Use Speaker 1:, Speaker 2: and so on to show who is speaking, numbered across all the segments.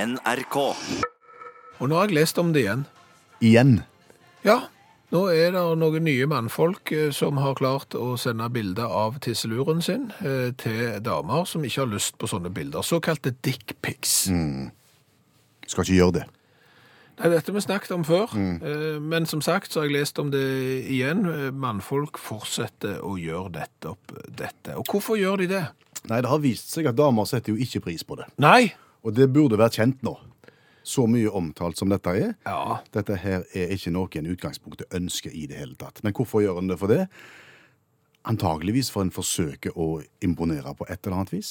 Speaker 1: NRK.
Speaker 2: Og nå har jeg lest om det igjen.
Speaker 3: Igjen.
Speaker 2: Ja, nå er det noen nye mannfolk eh, som har klart å sende bilder av tisseluren sin eh, til damer som ikke har lyst på sånne bilder. Såkalte dickpics.
Speaker 3: Skal ikke gjøre det.
Speaker 2: Nei, dette vi snakket om før, eh, men som sagt så har jeg lest om det igjen. Eh, Mannfolk fortsetter å gjøre dette opp dette. Og hvorfor gjør de det?
Speaker 3: Nei, det har vist seg at damer setter jo ikke pris på det.
Speaker 2: Nei!
Speaker 3: Og det burde vært kjent nå. Så mye omtalt som dette er.
Speaker 2: Ja,
Speaker 3: Dette her er ikke noe en i utgangspunktet ønsker i det hele tatt. Men hvorfor gjør en det for det? Antageligvis for en forsøker å imponere på et eller annet vis.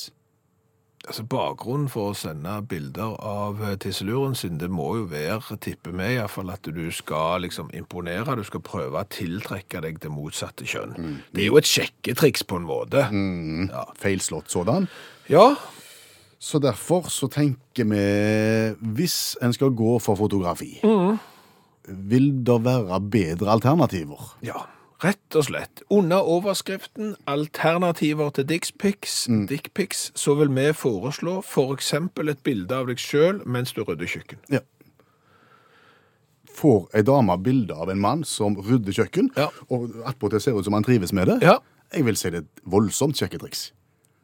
Speaker 2: altså bakgrunnen for å sende bilder av eh, tisseluren sin, det må jo være, tipper vi iallfall, at du skal liksom imponere, du skal prøve å tiltrekke deg det motsatte kjønn. Det er jo et sjekketriks på en måte.
Speaker 3: Feilslått sådan.
Speaker 2: Ja,
Speaker 3: Så derfor så tenker vi, hvis en skal gå for fotografi, vil det være bedre alternativer?
Speaker 2: ja. Rett og slett. Under overskriften 'Alternativer til dickpics', dickpics så vil vi foreslå f.eks. For et bilde av deg sjøl mens du rydder kjøkken.
Speaker 3: Ja. Får ei dame bilde av en mann som rydder kjøkken,
Speaker 2: Ja.
Speaker 3: og attpåtil ser ut som han trives med det?
Speaker 2: Ja.
Speaker 3: Jeg vil si det er et voldsomt sjekketriks.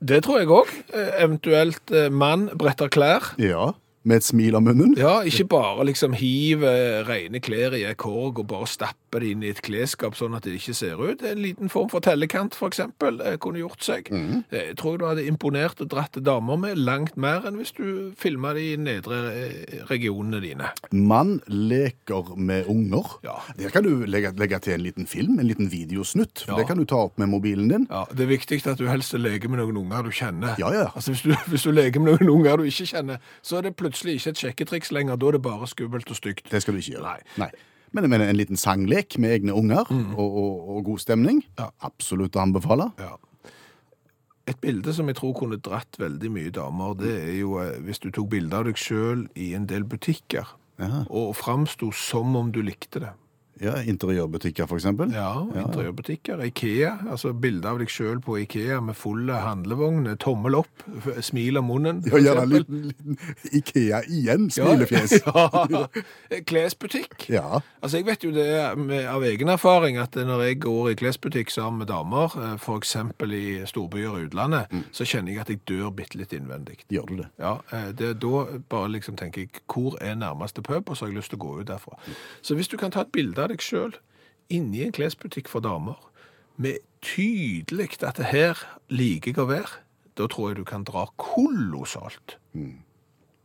Speaker 2: Det tror jeg òg. Eventuelt eh, mann bretter klær.
Speaker 3: Ja. Med et smil om munnen?
Speaker 2: Ja, ikke bare liksom hive rene klær i en korg og bare stappe det inn i et klesskap sånn at det ikke ser ut. En liten form for tellekant, for eksempel, eh, kunne gjort seg. Eh, Jeg tror du hadde imponert og dratt damer med langt mer enn hvis du filma de nedre eh, regionene dine.
Speaker 3: Mann leker med unger.
Speaker 2: Ja.
Speaker 3: Der kan du legge, legge til en liten film, en liten videosnutt.
Speaker 2: Ja.
Speaker 3: Det kan du ta opp med mobilen din.
Speaker 2: Ja, Det er viktig at du helst leker med noen unger du kjenner.
Speaker 3: Ja, ja.
Speaker 2: Altså, hvis du, hvis du leker med noen unger du ikke kjenner, så er det plutselig ikke et sjekketriks lenger. Da er det bare skummelt og stygt.
Speaker 3: Det skal du ikke gjøre.
Speaker 2: Nei. Mm.
Speaker 3: Men, men en liten sanglek med egne unger og, og, og god stemning. Absolutt å anbefale.
Speaker 2: Ja. Et bilde som jeg tror kunne dratt veldig mye damer, det er jo eh, hvis du tok bilde av deg sjøl i en del butikker,
Speaker 3: Ja.
Speaker 2: og framsto som om du likte det.
Speaker 3: Ja, Interiørbutikker, for eksempel.
Speaker 2: Ja, interiørbutikker, Ikea, altså bilde av deg sjøl på Ikea med full handlevogn, tommel opp, f- smil om munnen.
Speaker 3: Ja,
Speaker 2: for
Speaker 3: gjerne en
Speaker 2: eksempel.
Speaker 3: liten, liten Ikea igjen,
Speaker 2: Ja,
Speaker 3: smilefjes.
Speaker 2: Ja, Klesbutikk.
Speaker 3: Ja.
Speaker 2: Altså, Jeg vet jo det med, av egen erfaring at når jeg går i klesbutikk sammen med damer, eh, for eksempel i storbyer i utlandet,
Speaker 3: Mm.
Speaker 2: så kjenner jeg at jeg dør bitte litt innvendig.
Speaker 3: Gjør du det?
Speaker 2: Ja, eh, det, Da bare liksom tenker jeg hvor er nærmeste pub, og så har jeg lyst til å gå ut derfra. Så hvis du kan ta et bilde av deg sjøl inni en klesbutikk for damer, med tydelig at det her liker jeg å være, da tror jeg du kan dra kolossalt.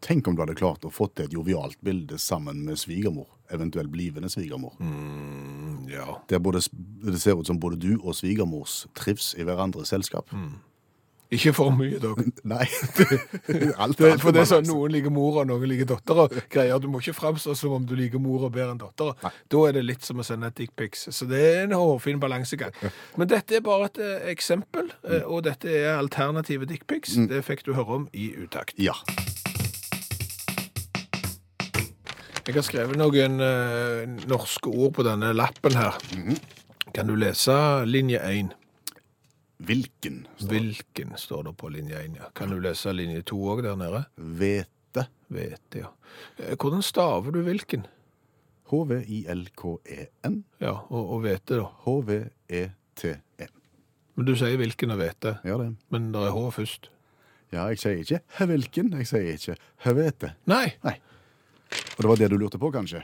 Speaker 3: Tenk om du hadde klart å få til et jovialt bilde sammen med svigermor, eventuelt blivende svigermor.
Speaker 2: Mm. Ja.
Speaker 3: Der både, s- det ser ut som både du og svigermors trives i hverandres selskap.
Speaker 2: Mm. Ikke for mye, da.
Speaker 3: Nei, det, alt,
Speaker 2: Det,
Speaker 3: alt liksom.
Speaker 2: for det er sånn,
Speaker 3: balanse.
Speaker 2: Noen liker mora, noen liker dattera. Greier, Du må ikke framstå som om du liker mora bedre enn dattera. Da er det litt som å sende et dickpics. Så det er en hårfin balansegang. Men dette er bare et eh, eksempel, eh, og dette er alternative dickpics. Det fikk du høre om i Utakt.
Speaker 3: Ja.
Speaker 2: Jeg har skrevet noen eh, norske ord på denne lappen her. Kan du lese linje 1?
Speaker 3: Hvilken? står det.
Speaker 2: Hvilken står det på linje 1? Ja. Kan du lese linje 2 òg der nede?
Speaker 3: Hvete.
Speaker 2: Vet, ja. Eh, Hvordan staver du hvilken?
Speaker 3: H-V-I-L-K-E-N.
Speaker 2: Ja, og, og vete, da.
Speaker 3: H-V-E-T-E.
Speaker 2: Men du sier hvilken av hvete,
Speaker 3: E Ja, det.
Speaker 2: men det er H først.
Speaker 3: Ja, jeg sier ikke «Hæ, hvilken, jeg sier ikke hvete.
Speaker 2: Nei,
Speaker 3: Nei. Og det var det du lurte på, kanskje?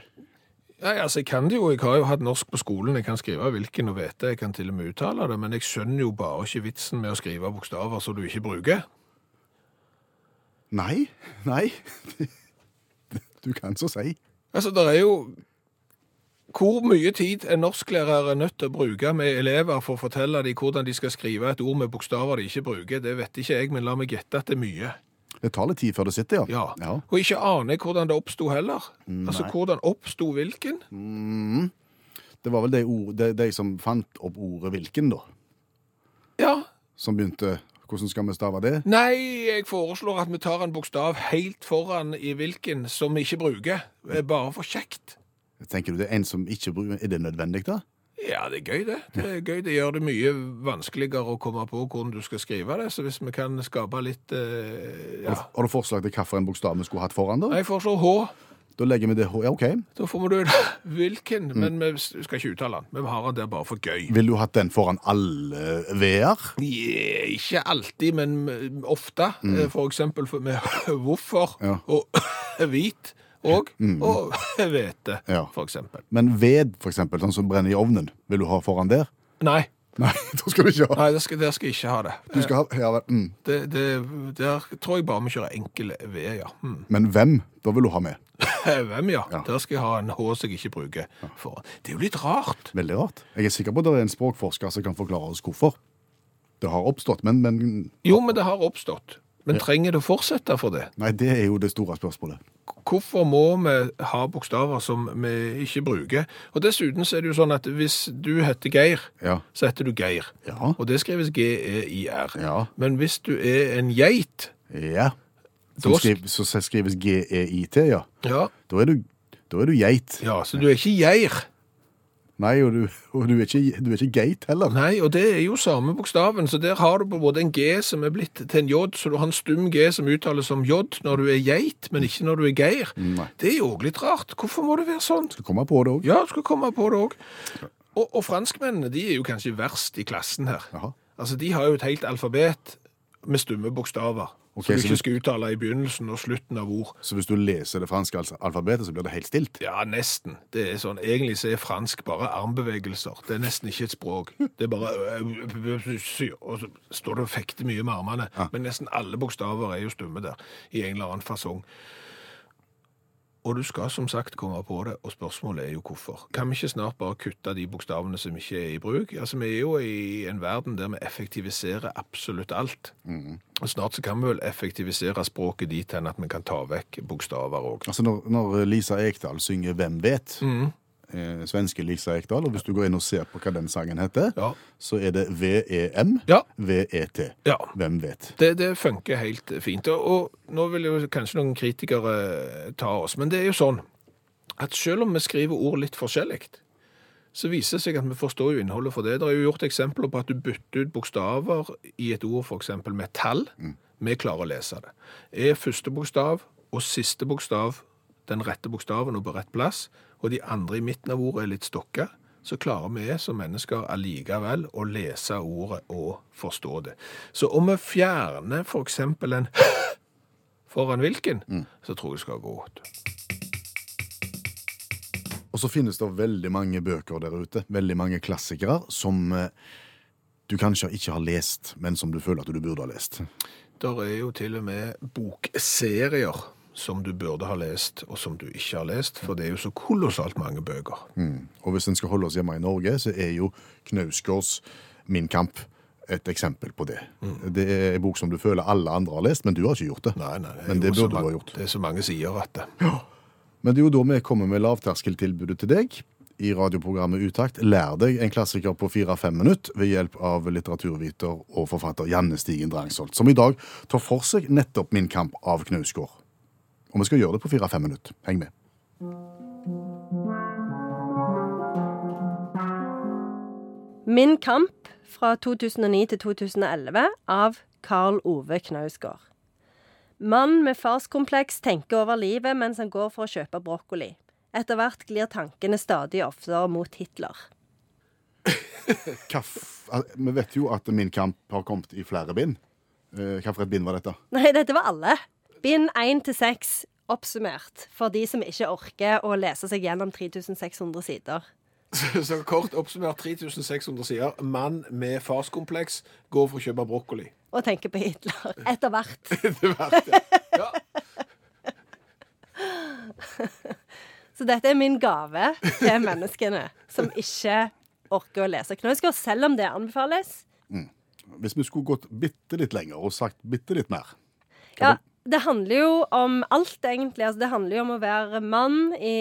Speaker 2: Nei altså jeg kan det jo, jeg har jo hatt norsk på skolen, jeg kan skrive hvilken og hvete, jeg kan til og med uttale det, men jeg skjønner jo bare ikke vitsen med å skrive bokstaver som du ikke bruker.
Speaker 3: Nei. Nei. Du kan så si.
Speaker 2: Altså, det er jo hvor mye tid en norsklærer er nødt til å bruke med elever for å fortelle dem hvordan de skal skrive et ord med bokstaver de ikke bruker, det vet ikke jeg, men la meg gjette at det er mye.
Speaker 3: Det tar litt tid før det sitter, ja.
Speaker 2: Ja, og ikke aner jeg hvordan det oppstod heller. Altså, hvordan oppstod hvilken?
Speaker 3: Det var vel de, ord, de, de som fant opp ordet 'hvilken', da.
Speaker 2: Ja,
Speaker 3: Som begynte 'Hvordan skal vi stave det?'
Speaker 2: Nei, jeg foreslår at vi tar en bokstav helt foran i hvilken som vi ikke bruker, eh, bare for kjekt.
Speaker 3: Tenker du det er en som ikke bruker Er det nødvendig, da?
Speaker 2: Ja, det er gøy, det. Det er gøy, det gjør det mye vanskeligere å komme på hvordan du skal skrive det. Så hvis vi kan skape litt eh, ja.
Speaker 3: Har du- Har du forslag til hvilken bokstav vi skulle hatt foran? Da
Speaker 2: Jeg foreslår H.
Speaker 3: Da legger vi det H. Ja, OK.
Speaker 2: Da får vi du hvilken,
Speaker 3: Mm.
Speaker 2: men vi skal ikke uttale den. Vi har den der bare for gøy.
Speaker 3: Ville du hatt den foran alle V-er?
Speaker 2: Ja, ikke alltid, men ofte. Eh, For eksempel for- med hvorfor
Speaker 3: Mm. Ja. Mm.
Speaker 2: og hvit og, og hvete,
Speaker 3: Ja.
Speaker 2: for eksempel.
Speaker 3: Men ved, for eksempel, sånn som brenner i ovnen, vil du ha foran der?
Speaker 2: Nei,
Speaker 3: Nei, da skal du ikke ha.
Speaker 2: nei der, skal, der skal jeg ikke ha det.
Speaker 3: Du skal ha ja, vel, mm.
Speaker 2: det, det der tror jeg bare vi kjører enkel V, ja. Mm.
Speaker 3: Men hvem? Da vil du ha med.
Speaker 2: Hvem, ja.
Speaker 3: Ja.
Speaker 2: Der skal jeg ha en H som jeg ikke bruker. For. Det er jo litt rart.
Speaker 3: Veldig rart. Jeg er sikker på at det er en språkforsker som kan forklare oss hvorfor. Det har oppstått, men, men
Speaker 2: Jo, men det har oppstått. Men trenger det å fortsette for det?
Speaker 3: Nei, det er jo det store spørsmålet.
Speaker 2: Hvorfor må vi ha bokstaver som vi ikke bruker? Og dessuten så er det jo sånn at hvis du heter Geir,
Speaker 3: Ja.
Speaker 2: så heter du Geir.
Speaker 3: Ja.
Speaker 2: Og det skrives G-E-I-R.
Speaker 3: Ja.
Speaker 2: Men hvis du er en geit,
Speaker 3: ja.
Speaker 2: Da
Speaker 3: Som
Speaker 2: sk-
Speaker 3: skriv, så skrives G-E-I-T, ja.
Speaker 2: ja,
Speaker 3: Da er du, da er du geit.
Speaker 2: ja så du er ikke geir.
Speaker 3: Nei, og du, og du er ikke, du er ikke geit heller.
Speaker 2: Nei, og det er jo samme bokstaven, så der har du på en måte en G som er blitt til en J, så du har en stum G som uttales som J når du er geit, men ikke når du er geir.
Speaker 3: Nei.
Speaker 2: Det er jo også litt rart. Hvorfor må det være sånn?
Speaker 3: Du kommer på det òg.
Speaker 2: Ja, du skal komme på det òg. Og, og franskmennene de er jo kanskje verst i klassen her.
Speaker 3: Jaha.
Speaker 2: Altså, De har jo et helt alfabet med stumme bokstaver.
Speaker 3: Ok,
Speaker 2: som du
Speaker 3: så du-
Speaker 2: ikke skal uttale i begynnelsen og slutten av ord.
Speaker 3: Så hvis du leser det franske al- alfabetet, så blir det helt stilt?
Speaker 2: Ja, nesten. Det er sånn, Egentlig så er fransk bare armbevegelser. Det er nesten ikke et språk. Det er bare eh, Og så står det og fekter mye med armene. Men nesten alle bokstaver er jo stumme der, i en eller annen fasong. Og du skal som sagt komme på det, og spørsmålet er jo hvorfor. Kan vi ikke snart bare kutte de bokstavene som ikke er i bruk? Altså, Vi er jo i en verden der vi effektiviserer absolutt alt. Og snart så kan vi vel effektivisere språket dit hen at vi kan ta vekk bokstaver òg.
Speaker 3: Altså når, når Lisa Ekdahl synger 'Hvem vet',
Speaker 2: Mm.
Speaker 3: eh, svenske Lisa Ekdahl, og hvis du går inn og ser på hva den sangen heter,
Speaker 2: Ja.
Speaker 3: så er det E VEM,
Speaker 2: Ja.
Speaker 3: VET.
Speaker 2: Ja.
Speaker 3: Hvem vet?
Speaker 2: Det, det funker helt fint. Og, og nå vil jo kanskje noen kritikere ta oss, men det er jo sånn at selv om vi skriver ord litt forskjellig, så viser det seg at vi forstår jo innholdet for det. Det er jo gjort eksempler på at du bytter ut bokstaver i et ord, f.eks. med tall. Vi klarer å lese det. Er første bokstav og siste bokstav den rette bokstaven og på rett plass, og de andre i midten av ordet er litt stokka, så klarer vi som mennesker allikevel å lese ordet og forstå det. Så om vi fjerner f.eks. en foran hvilken, så tror jeg det skal gå godt.
Speaker 3: Og så finnes det veldig mange bøker der ute, veldig mange klassikere, som eh, du kanskje ikke har lest, men som du føler at du burde ha lest.
Speaker 2: Der er jo til og med bokserier som du burde ha lest, og som du ikke har lest, for det er jo så kolossalt mange bøker.
Speaker 3: Mm. Og hvis en skal holde oss hjemme i Norge, så er jo Knausgårds Min kamp et eksempel på det. Det er en bok som du føler alle andre har lest, men du har ikke gjort det.
Speaker 2: Nei, nei, er
Speaker 3: Men det
Speaker 2: jo så
Speaker 3: burde du
Speaker 2: mange-
Speaker 3: ha gjort.
Speaker 2: Det er så mange sider at det.
Speaker 3: Men det er jo da vi kommer med lavterskeltilbudet til deg i radioprogrammet Utakt. Lær deg en klassiker på fire-fem minutter ved hjelp av litteraturviter og forfatter Janne Stigen Drangsholt, som i dag tar for seg nettopp Min kamp av Knausgård. Og vi skal gjøre det på fire-fem minutter. Heng med.
Speaker 1: Min kamp fra 2009 til 2011 av Karl Ove Knausgård. Mann med farskompleks tenker over livet mens han går for å kjøpe brokkoli. Etter hvert glir tankene stadig oftere mot Hitler.
Speaker 3: Hva f- al- Vi vet jo at Min kamp har kommet i flere bind. Eh, Hva for et bind var dette?
Speaker 1: Nei, dette var alle. Bind 1 til 6 oppsummert for de som ikke orker å lese seg gjennom 3600 sider.
Speaker 2: Så kort oppsummert 3600 sider. Mann med farskompleks går for å kjøpe brokkoli.
Speaker 1: Og tenker på Hitler. Etter hvert.
Speaker 2: Ja.
Speaker 1: Så dette er min gave til menneskene som ikke orker å lese Knausgård, selv om det anbefales.
Speaker 3: Hvis vi skulle gått bitte litt lenger og sagt bitte litt mer.
Speaker 1: Ja, det handler jo om alt, egentlig. Altså, det handler jo om å være mann i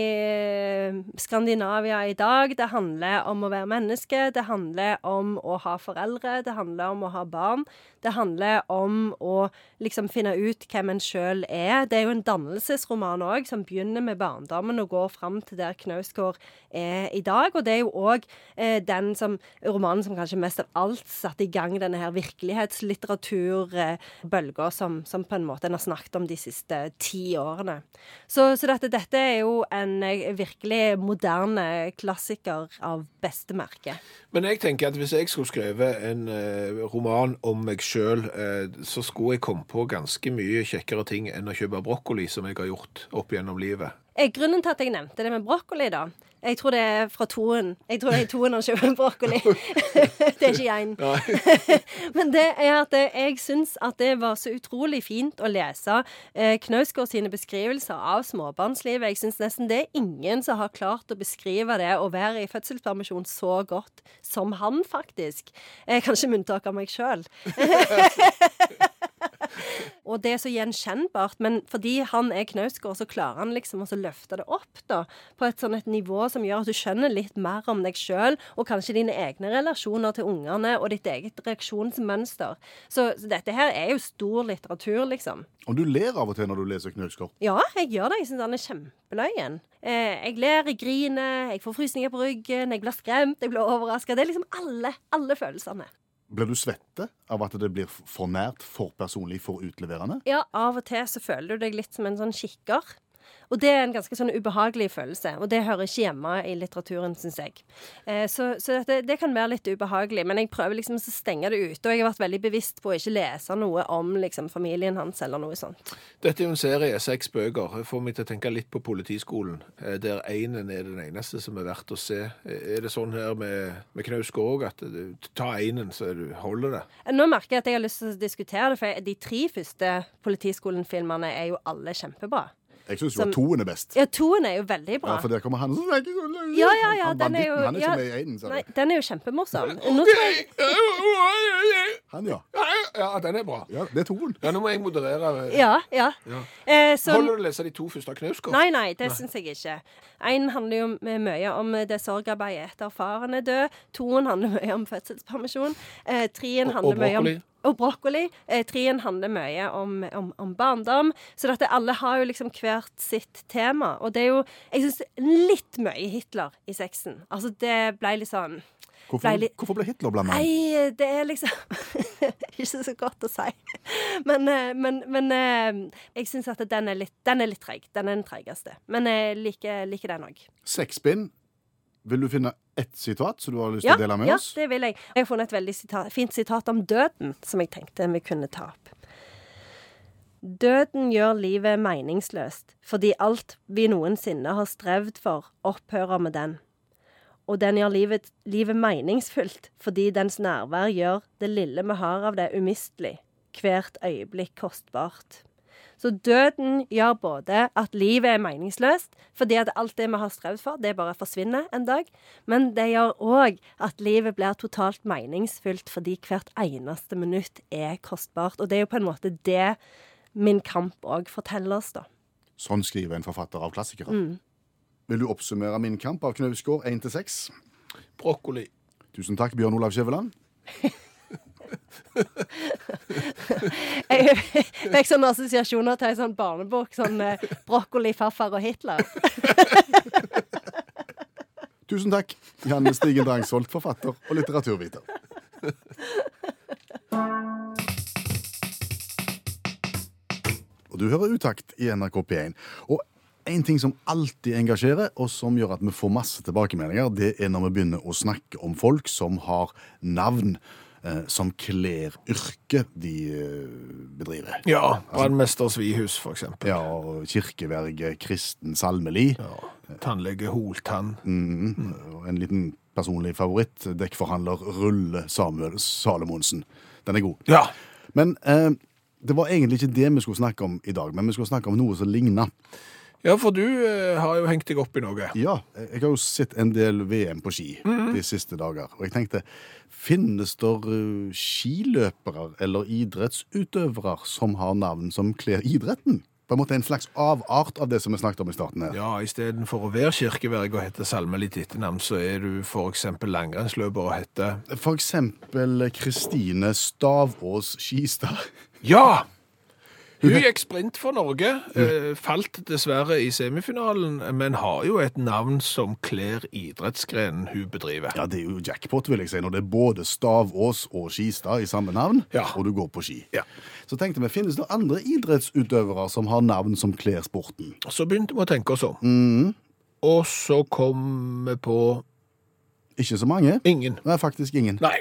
Speaker 1: Skandinavia i dag. Det handler om å være menneske. Det handler om å ha foreldre. Det handler om å ha barn. Det handler om å liksom finne ut hvem en sjøl er. Det er jo en dannelsesroman òg, som begynner med barndommen og går fram til der Knausgård er i dag. Og det er jo òg eh, den som, romanen som kanskje mest av alt satte i gang denne her virkelighetslitteraturbølga som, som på en måte en har snakket om de siste ti årene. Så, så dette, dette er jo en eh, virkelig moderne klassiker av beste merke.
Speaker 2: Men jeg tenker at hvis jeg skulle skrevet en eh, roman om meg sjøl, eh, så skulle jeg komme på ganske mye kjekkere ting enn å kjøpe brokkoli, som jeg har gjort opp gjennom livet.
Speaker 1: Eh, Grunnen til at jeg nevnte det med brokkoli, da Jeg tror det er fra toen. Jeg tror det er i toen han kjøper brokkoli. det er ikke én. Men det er at eh, jeg syns at det var så utrolig fint å lese eh, Knausgård sine beskrivelser av småbarnslivet. Jeg syns nesten det er ingen som har klart å beskrive det å være i fødselspermisjon så godt som han, faktisk. Eh, kanskje med unntak av meg sjøl. Og det er så gjenkjennbart, men fordi han er Knausgård, så klarer han liksom også å løfte det opp da, på et sånn et nivå som gjør at du skjønner litt mer om deg sjøl, og kanskje dine egne relasjoner til ungene, og ditt eget reaksjonsmønster. Så, så dette her er jo stor litteratur, liksom.
Speaker 3: Og du ler av og til når du leser Knausgård.
Speaker 1: Ja, jeg gjør det. Jeg syns han er kjempeløyen. Eh, jeg ler, jeg griner, jeg får frysninger på ryggen, jeg blir skremt, jeg blir overraska. Det er liksom alle, alle følelsene.
Speaker 3: Blir du svette av at det blir f- for nært, for personlig, for utleverende?
Speaker 1: Ja, av og til så føler du deg litt som en sånn kikker. Og det er en ganske sånn ubehagelig følelse, og det hører ikke hjemme i litteraturen, syns jeg. Eh, så så dette, det kan være litt ubehagelig, men jeg prøver liksom å stenge det ute. Og jeg har vært veldig bevisst på å ikke lese noe om liksom, familien hans eller noe sånt.
Speaker 2: Dette er jo en serie, seks bøker. Det får meg til å tenke litt på Politiskolen, eh, der énen er den eneste som er verdt å se. Eh, Er det sånn her med, med Knausgård òg, at eh, du tar énen, så du holder det?
Speaker 1: Eh, Nå merker jeg at jeg har lyst til å diskutere det, for jeg- de tre første Politiskolen-filmene er jo alle kjempebra.
Speaker 3: Jeg syns jo
Speaker 1: Som-
Speaker 3: at toen er best.
Speaker 1: Ja, toen er jo veldig bra.
Speaker 3: Ja, for der kommer han sånn
Speaker 1: Ja, ja, ja.
Speaker 3: Han
Speaker 1: Den er jo,
Speaker 3: banditten, han er
Speaker 1: ja,
Speaker 3: ikke med i Aiden, ser
Speaker 1: Nei,
Speaker 3: du.
Speaker 1: den er jo kjempemorsom. Nå tror jeg
Speaker 3: Han, ja.
Speaker 2: Ja, den er bra.
Speaker 3: ja. Det er toen.
Speaker 2: Ja, nå må jeg moderere.
Speaker 1: Ja, ja.
Speaker 2: Ja.
Speaker 1: Eh, så-
Speaker 2: Holder du å lese de to første av Knausgård?
Speaker 1: Nei, nei, det syns jeg ikke. Én handler jo m- mye om det sorgarbeidet etter faren er død. Toen handler mye om fødselspermisjon. Eh, treen
Speaker 2: Og-
Speaker 1: handler
Speaker 2: og
Speaker 1: mye om
Speaker 2: brokkoli.
Speaker 1: og brokkoli. Eh, treen handler mye om, om, om barndom. Så dette, alle har jo liksom hvert sitt tema. Og det er jo Jeg syns litt mye Hitler i sexen. Altså, det ble litt sånn Ble
Speaker 3: Hvorfor,
Speaker 1: litt-
Speaker 3: hvorfor ble Hitler blanda inn?
Speaker 1: Nei, det er liksom Ikke så godt å si. Men, eh, men, men eh, jeg syns at den er litt, den er litt treig. Den er den treigeste. Men jeg liker, liker den òg.
Speaker 3: Seks bind. Vil du finne ett sitat som du har lyst til
Speaker 1: Ja,
Speaker 3: å dele med
Speaker 1: ja,
Speaker 3: oss?
Speaker 1: det vil jeg. Jeg har funnet et veldig sita- fint sitat om døden som jeg tenkte vi kunne ta opp. Døden gjør livet meningsløst, fordi alt vi noensinne har strevd for, opphører med den. Og den gjør livet, livet meningsfullt, fordi dens nærvær gjør det lille vi har av det, umistelig. Hvert øyeblikk kostbart. Så døden gjør både at livet er meningsløst, fordi at alt det vi har strevd for, det bare forsvinner en dag, men det gjør òg at livet blir totalt meningsfylt fordi hvert eneste minutt er kostbart. Og det er jo på en måte det Min Kamp òg forteller oss, da.
Speaker 3: Sånn skriver en forfatter av klassikere.
Speaker 1: Mm.
Speaker 3: Vil du oppsummere Min kamp av Knausgård 1 til 6?
Speaker 2: Brokkoli.
Speaker 3: Tusen takk, Bjørn Olav Skjæveland.
Speaker 1: Jeg fikk sånne assosiasjoner til ei sånn barnebok, sånn eh, brokkoli, farfar og Hitler.
Speaker 3: Tusen takk, Janne Stigen Drangsholt, forfatter og litteraturviter. Og du hører Utakt i NRK P1. Og en ting som alltid engasjerer, og som gjør at vi får masse tilbakemeldinger, det er når vi begynner å snakke om folk som har navn eh, som kler yrket de eh, bedriver.
Speaker 2: Ja. Altså- Brannmester Svihus, for eksempel.
Speaker 3: Ja, og kirkeverge, kristen salmeli.
Speaker 2: Tannlege Holtann.
Speaker 3: Og en liten personlig favoritt, dekkforhandler Rulle Samuel Salomonsen. Den er god.
Speaker 2: Ja.
Speaker 3: Men eh, det var egentlig ikke det vi skulle snakke om i dag, men vi skulle snakke om noe som ligner.
Speaker 2: Ja, for du eh, har jo hengt deg opp i noe.
Speaker 3: Ja, Eh, jeg jeg har jo sett en del VM på ski de siste dager, og jeg tenkte, finnes der eh, skiløpere eller idrettsutøvere som har navn som kler idretten? På en måte en slags avart av det som vi snakket om i starten her.
Speaker 2: Ja, istedenfor å være kirkeverg og hete Salme litt etternavn, så er du f.eks. langrennsløper og heter
Speaker 3: For eksempel Kristine Stavås Skistad.
Speaker 2: Ja! Hun gikk sprint for Norge, eh, falt dessverre i semifinalen, men har jo et navn som kler idrettsgrenen hun bedriver.
Speaker 3: Ja, det er jo jackpot, vil jeg si, når det er både Stavås og Skistad i samme navn,
Speaker 2: Ja.
Speaker 3: og du går på ski.
Speaker 2: Ja.
Speaker 3: Så tenkte vi, finnes det andre idrettsutøvere som har navn som kler sporten?
Speaker 2: Så begynte vi å tenke oss om. Og så kom vi på
Speaker 3: Ikke så mange.
Speaker 2: ingen.
Speaker 3: Nei, faktisk ingen.
Speaker 2: Nei.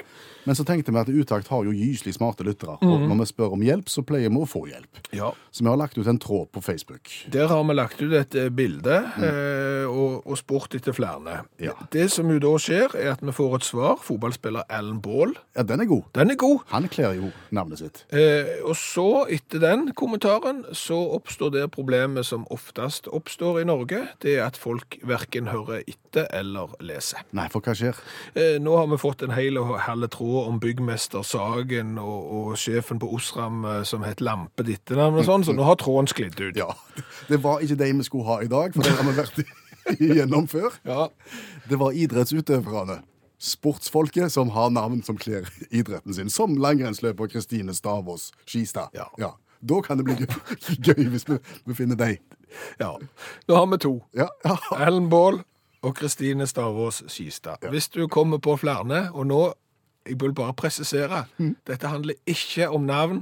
Speaker 3: Men så tenkte vi at Utakt har jo gyselig smarte lyttere,
Speaker 2: Mhm.
Speaker 3: og når vi spør om hjelp, så pleier vi å få hjelp.
Speaker 2: Ja.
Speaker 3: Så vi har lagt ut en tråd på Facebook.
Speaker 2: Der har vi lagt ut et eh, bilde eh, og, og spurt etter flere.
Speaker 3: Ja.
Speaker 2: Det som jo da skjer, er at vi får et svar. Fotballspiller Alan Ball.
Speaker 3: Ja, den er god.
Speaker 2: Den er god.
Speaker 3: Han kler jo navnet sitt.
Speaker 2: Eh, og så, etter den kommentaren, så oppstår det problemet som oftest oppstår i Norge. Det er at folk verken hører etter eller leser.
Speaker 3: Nei, for hva skjer?
Speaker 2: Eh, nå har vi fått en hel og halve tråd om byggmester Sagen og, og sjefen på Osram eh, som het Lampe Dittenavn og sånn, så nå har tråden sklidd ut.
Speaker 3: Ja, det var ikke de vi skulle ha i dag, for det har vi vært igjennom før.
Speaker 2: Ja.
Speaker 3: Det var idrettsutøverne. Sportsfolket som har navn som kler idretten sin. Som langrennsløper Kristine Stavås Skistad.
Speaker 2: Ja.
Speaker 3: Da kan det bli gøy, gøy hvis vi, vi finner deg.
Speaker 2: ja. Nå har vi to.
Speaker 3: Ja, ja.
Speaker 2: Ellen Båhl og Kristine Stavås Skistad. Hvis du kommer på flere, og nå, jeg vil bare presisere, dette handler ikke om navn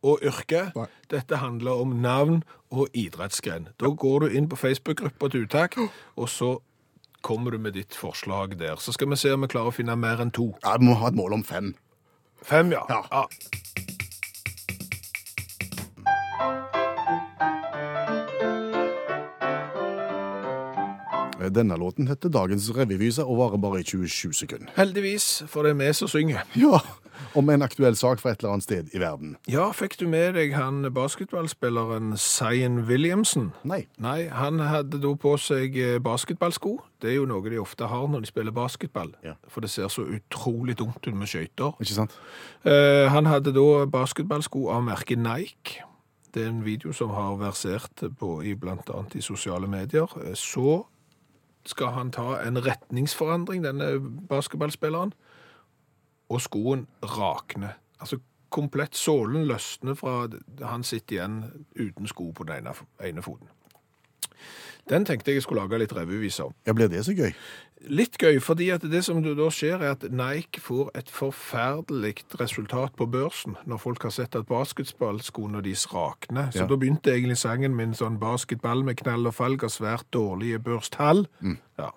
Speaker 2: og yrke.
Speaker 3: Nei.
Speaker 2: Dette handler om navn og idrettsgren. Da går du inn på Facebook-gruppa til uttak, og så kommer du med ditt forslag der. Så skal vi se om vi klarer å finne mer enn to.
Speaker 3: ja vi må ha et mål om fem.
Speaker 2: Fem, ja.
Speaker 3: Ja. Denne låten heter Dagens revyvise og varer bare i 27 sekunder.
Speaker 2: Heldigvis, for det er vi som synger.
Speaker 3: Ja, Om en aktuell sak fra et eller annet sted i verden.
Speaker 2: Ja, fikk du med deg han basketballspilleren Zion Williamson?
Speaker 3: Nei.
Speaker 2: Nei, han hadde da på seg eh, basketballsko. Det er jo noe de ofte har når de spiller basketball.
Speaker 3: Ja.
Speaker 2: For det ser så utrolig dumt ut med skøyter.
Speaker 3: Ikke sant?
Speaker 2: Eh, han hadde da basketballsko av merket Nike. Det er en video som har versert på, i blant annet i sosiale medier. Eh, Så skal han ta en retningsforandring, denne basketballspilleren, og skoen rakner. Altså komplett sålen løsner fra han sitter igjen uten sko på den ene, ene foten. Den tenkte jeg skulle lage litt revyvise om.
Speaker 3: Ja, Blir det så gøy?
Speaker 2: Litt gøy, fordi at det som da skjer er at Nike får et forferdelig resultat på børsen når folk har sett at basketballskoene deres rakner. Så
Speaker 3: Ja.
Speaker 2: da begynte egentlig sangen min sånn basketball med knall og falg og svært dårlige børstall. Ja.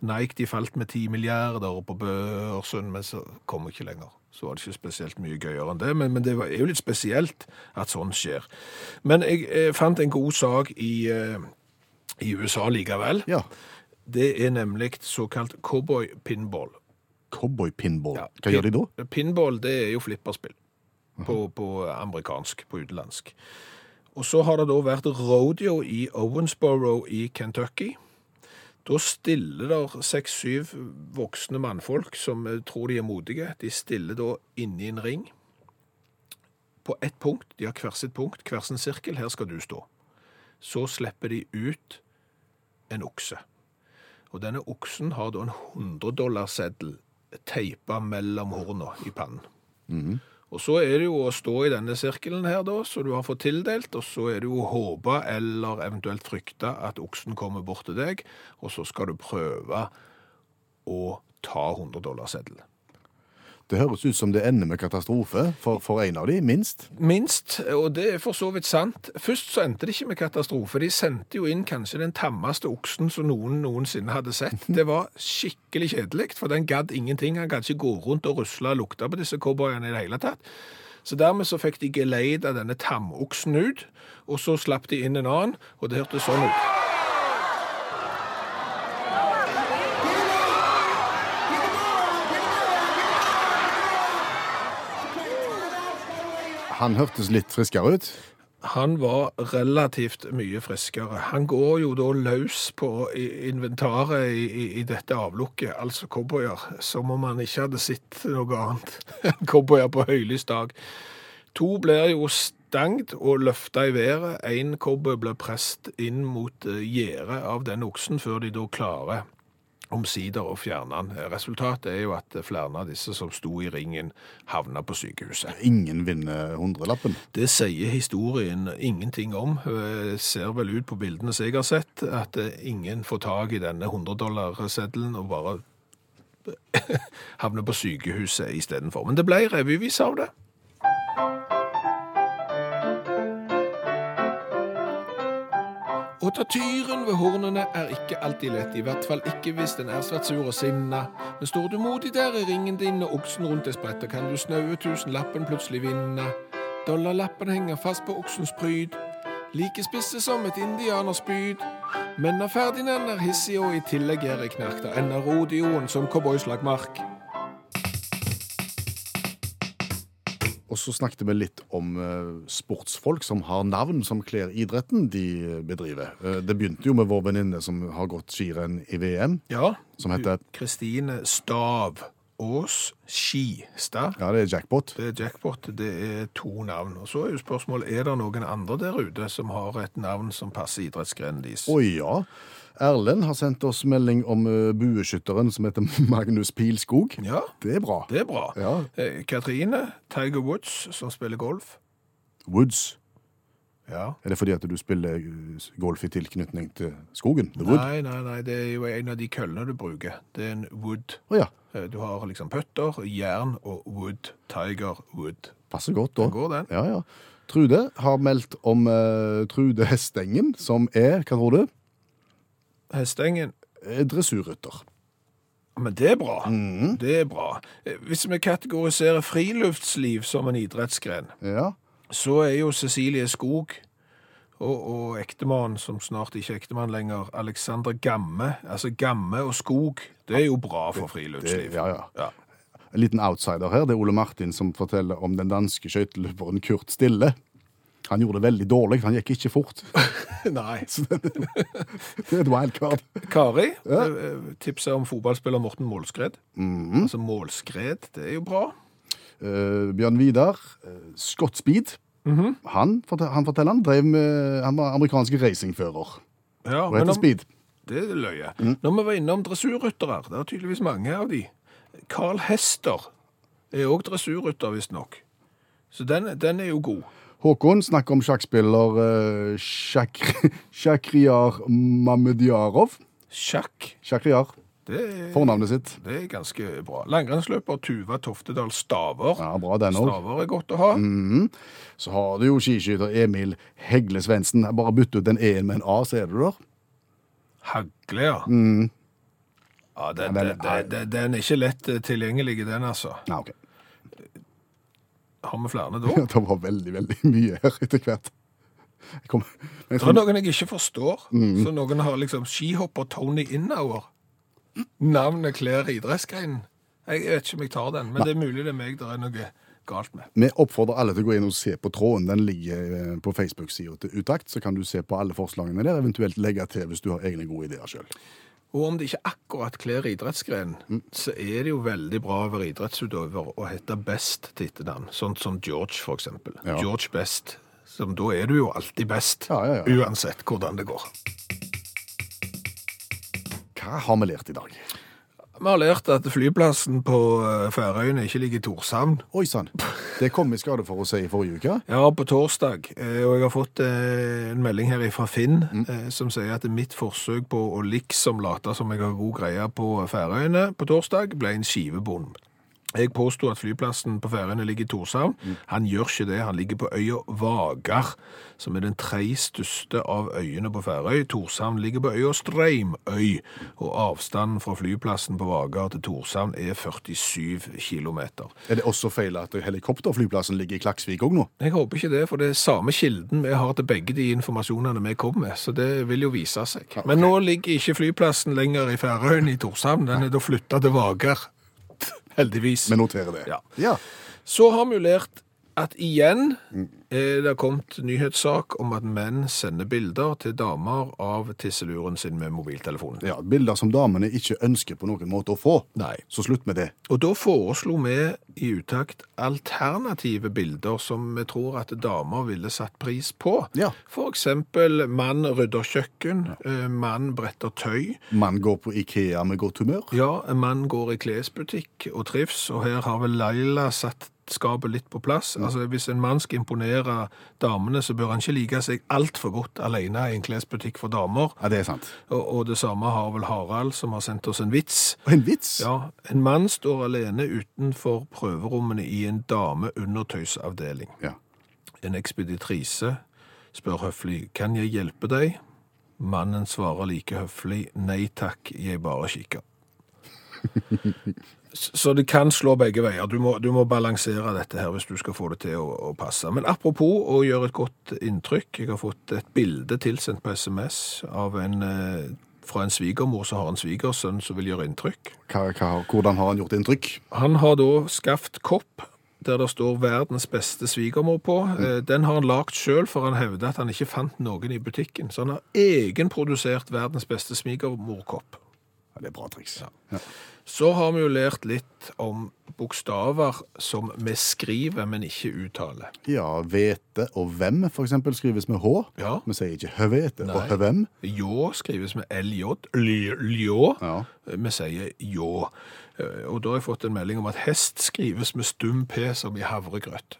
Speaker 2: Nike de falt med 10 milliarder på børsen, men så kom ikke lenger. Så var det ikke spesielt mye gøyere enn det, men, men det var, er jo litt spesielt at sånn skjer. Men jeg, eh, fant en god sak i, eh, i USA likevel.
Speaker 3: Ja.
Speaker 2: Det er nemlig såkalt cowboy pinball.
Speaker 3: Cowboy-pinball.
Speaker 2: Ja,
Speaker 3: Hva gjør de da?
Speaker 2: Pinball det er jo flipperspill på, på amerikansk, på utenlandsk. Og så har det da vært rodeo i Owensboro i Kentucky. Da stiller der seks-syv voksne mannfolk som eh, tror de er modige. De stiller da inni en ring på ett punkt. De har hver sitt punkt, hver sin sirkel. Her skal du stå. Så slipper de ut en okse. Og denne oksen har da en 100 dollarseddel teipa mellom horna i pannen. Og så er det jo å stå i denne sirkelen her da, som du har fått tildelt, og så er det jo å håpe eller eventuelt frykte at oksen kommer bort til deg, og så skal du prøve å ta 100 dollarseddel.
Speaker 3: Det høres ut som det ender med katastrofe for, for en av de, minst.
Speaker 2: Minst, og det er for så vidt sant. Først så endte det ikke med katastrofe. De sendte jo inn kanskje den tammeste oksen som noen noensinne hadde sett. Det var skikkelig kjedelig, for den gadd ingenting. Han gadd ikke gå rundt og rusle og lukte på disse cowboyene i det hele tatt. Så dermed så fikk de geleid av denne tamoksen ut, og så slapp de inn en annen, og det hørtes sånn ut.
Speaker 3: Han hørtes litt friskere ut.
Speaker 2: han var relativt mye friskere. Han går jo da løs på i- inventaret i, i, i dette avlukket, altså cowboyer, som om han ikke hadde sett noe annet enn cowboyer på høylys dag. To blir jo stangt og løfta i været. Én cowboy blir presset inn mot eh, gjerdet av den oksen, før de da klarer omsider å fjerne han. Resultatet er jo at eh, flere av disse som sto i ringen, havna på sykehuset.
Speaker 3: Ingen vinner hundrelappen.
Speaker 2: Det sier historien ingenting om. Eh, Ser vel ut på bildene som jeg har sett, at eh, ingen får tak i denne 100-dollarseddelen og bare havner på sykehuset istedenfor. Men det ble revyvis av det. Å ta tyren ved hornene er ikke alltid lett, i hvert fall ikke hvis den er svært sur og sinna. Men står du modig der i ringen din og oksen rundt deg spretter, kan du snaue tusenlappen plutselig vinne. Dollarlappen henger fast på oksens pryd, like spisse som et indianerspyd. Men når Ferdinand er hissig og i tillegg gjør ei knark, da ender rodeoen som cowboyslagmark.
Speaker 3: Og så snakket vi litt om eh, sportsfolk som har navn som kler idretten de bedriver. Eh, det begynte jo med vår venninne som har gått skirenn i VM,
Speaker 2: Ja,
Speaker 3: som heter
Speaker 2: Kristine Stav Ås Skistad.
Speaker 3: Ja, det er jackpot.
Speaker 2: Det er Eh, jackpot, det er to navn. Og så er jo spørsmålet, er det noen andre der ute som har et navn som passer idrettsgrenen deres?
Speaker 3: Å ja. Erlend har sendt oss melding om eh, bueskytteren som heter Magnus Pilskog.
Speaker 2: Ja,
Speaker 3: Det er bra.
Speaker 2: det er bra.
Speaker 3: Ja.
Speaker 2: Eh, Katrine Tiger Woods, som spiller golf.
Speaker 3: Woods.
Speaker 2: Ja.
Speaker 3: Er det fordi at du spiller eh, golf i tilknytning til skogen? The Wood?
Speaker 2: Nei, nei, nei, det er jo en av de køllene du bruker. Det er en wood.
Speaker 3: Å ja.
Speaker 2: Eh, Du har liksom pøtter, jern og wood. Tiger Wood.
Speaker 3: Passer godt, da.
Speaker 2: Går den?
Speaker 3: Ja, ja. Trude har meldt om eh, Trude Hestengen, som er, hva tror du,
Speaker 2: Hestengen.
Speaker 3: Eh, dressurrytter.
Speaker 2: Men det er bra.
Speaker 3: Mhm.
Speaker 2: Det er bra. Eh, Hvis vi kategoriserer friluftsliv som en idrettsgren,
Speaker 3: Ja.
Speaker 2: så er jo Cecilie Skog og, og ektemannen, som snart ikke er ektemann lenger, Alexander Gamme. Altså Gamme og Skog, det er jo bra for friluftsliv.
Speaker 3: Det- Eh, ja, ja.
Speaker 2: Ja.
Speaker 3: En liten outsider her, det er Ole Martin som forteller om den danske skøyteløperen Kurt Stille. Han gjorde det veldig dårlig, han gikk ikke fort.
Speaker 2: Nei.
Speaker 3: Så det, det er et wildcard.
Speaker 2: Kari eh, tipset om fotballspiller Morten Målskred.
Speaker 3: Mhm.
Speaker 2: Altså Målskred, det er jo bra.
Speaker 3: Eh, Bjørn Vidar, eh, Scott Speed,
Speaker 2: Mhm.
Speaker 3: han, fortel- han forteller han, drev med, han var amerikansk racingfører.
Speaker 2: Ja,
Speaker 3: Og heter
Speaker 2: om-
Speaker 3: Speed. Mhm.
Speaker 2: Det er løye. Når vi var innom dressurryttere, det er tydeligvis mange av de. Carl Hester er òg dressurrytter, visstnok. Så den, den er jo god.
Speaker 3: Håkon snakker om sjakkspiller eh, Shak- Shakriar Mamediarov.
Speaker 2: Sjakk,
Speaker 3: Shakriar,
Speaker 2: det er,
Speaker 3: fornavnet sitt.
Speaker 2: det er ganske bra. Langrennsløper Tuva Toftedal Staver.
Speaker 3: Ja, Bra, den òg.
Speaker 2: Staver er godt å ha.
Speaker 3: Så har du jo skiskytter Emil Hegle Svendsen. Jeg Bare bytt ut den E-en med en A, så er du der.
Speaker 2: Hagle, ja. Ja, den,
Speaker 3: Ja,
Speaker 2: den,
Speaker 3: den-
Speaker 2: den, den, den er ikke lett eh, tilgjengelig, den, altså.
Speaker 3: Nei, ok.
Speaker 2: Har vi flere da?
Speaker 3: Det var veldig, veldig mye her etter hvert. Jeg kom, jeg
Speaker 2: Det er
Speaker 3: kom,
Speaker 2: noen jeg ikke forstår. Så noen har liksom skihopper Tony Innauer. Navnet kler idrettsgreinen. Jeg vet ikke om jeg tar den, men det er mulig det er meg det er noe galt med.
Speaker 3: vi oppfordrer alle til å gå inn og se på tråden. Den ligger eh, på Facebook-sida til Utakt. Så kan du se på alle forslagene der, eventuelt legge til hvis du har egne gode ideer sjøl.
Speaker 2: Og om det ikke akkurat kler idrettsgrenen, så er det jo veldig bra å være idrettsutøver og hete Best til etternavn. Sånn som George, for eksempel.
Speaker 3: Ja.
Speaker 2: George Best. Som da er du jo alltid best,
Speaker 3: Ja, ja, ja.
Speaker 2: uansett hvordan det går.
Speaker 3: Hva har vi lært i dag?
Speaker 2: Vi har lært at flyplassen på eh, Færøyene ikke ligger i Torshavn,
Speaker 3: Oi sann, det kom i skade for å si i forrige uke.
Speaker 2: Ja, på torsdag. eh, Og jeg har fått eh, en melding her fra Finn eh, som sier at mitt forsøk på å liksom late som jeg har god greie på Færøyene på torsdag, ble en skivebom. Jeg påsto at flyplassen på Færøyene ligger i Torshavn. Han gjør ikke det. Han ligger på øya Vagar, som er den tredje største av øyene på Færøy. Torshavn ligger på øya Streimøy, og avstanden fra flyplassen på Vagar til Torshavn er 47 kilometer.
Speaker 3: Er det også feil at helikopterflyplassen ligger i Klaksvik òg nå?
Speaker 2: Jeg håper ikke det, for det er samme kilden vi har til begge de informasjonene vi kom med, så det vil jo vise seg. Men nå ligger ikke flyplassen lenger i Færøyen i Torshavn, den er da flytta til Vagar. Heldigvis.
Speaker 3: Vi noterer det.
Speaker 2: Ja.
Speaker 3: ja.
Speaker 2: Så har vi jo lært at igjen Eh, Det har kommet nyhetssak om at menn sender bilder til damer av tisseluren sin med mobiltelefonen.
Speaker 3: Ja, Bilder som damene ikke ønsker på noen måte å få.
Speaker 2: Nei.
Speaker 3: Så slutt med det.
Speaker 2: Og da foreslo vi i utakt alternative bilder som vi tror at damer ville satt pris på.
Speaker 3: Ja.
Speaker 2: For eksempel mann rydder kjøkken, eh, mann bretter tøy,
Speaker 3: Man går på Ikea med godt humør.
Speaker 2: ja, en mann går i klesbutikk og trivs, og her har vel Leila satt skapet litt på plass. Altså, hvis en mann skal imponere damene, så bør han ikke like seg altfor godt alene i en klesbutikk for damer.
Speaker 3: Ja, det er sant.
Speaker 2: Og, og det samme har vel Harald, som har sendt oss en vits.
Speaker 3: Og en vits!
Speaker 2: Ja, en mann står alene utenfor prøverommene i en dameundertøysavdeling.
Speaker 3: Ja.
Speaker 2: En ekspeditrise spør høflig, kan jeg hjelpe deg? Mannen svarer like høflig, nei takk, jeg bare kikker. S- Så det kan slå begge veier. Du må, du må balansere dette her hvis du skal få det til å, å passe. Men apropos å gjøre et godt inntrykk, jeg har fått et bilde tilsendt på SMS av en, eh, fra en svigermor som har en svigersønn som vil gjøre inntrykk.
Speaker 3: Hva, hva, hvordan har han gjort inntrykk?
Speaker 2: Han har da skaffet kopp der det står 'verdens beste svigermor' på. Eh, Den har han lagd sjøl, for han hevder at han ikke fant noen i butikken. Så han har egenprodusert verdens beste svigermorkopp.
Speaker 3: Ja, det er bra triks.
Speaker 2: Så har vi jo lært litt om bokstaver som vi skriver, men ikke uttaler.
Speaker 3: Ja, hvete og hvem for eksempel skrives med H.
Speaker 2: Ja.
Speaker 3: Vi sier ikke høvete
Speaker 2: Nei.
Speaker 3: og høvem.
Speaker 2: Ljå skrives med LJ. Lj- Ljå.
Speaker 3: Ja.
Speaker 2: Vi sier ljå. Eh, Og da har jeg fått en melding om at hest skrives med stum P som i havregrøt.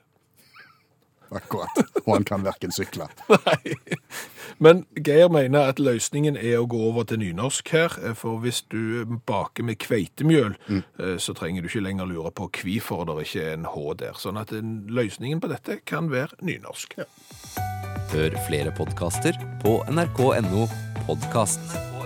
Speaker 3: Akkurat. Og han kan verken sykle.
Speaker 2: Nei. Men Geir mener at løsningen er å gå over til nynorsk her, eh, for hvis du baker med kveitemjøl, eh, så trenger du ikke lenger lure på hvorfor det ikke er en H der. Sånn at en- løsningen på dette kan være nynorsk.
Speaker 4: Hør flere podkaster på nrk.no podkast.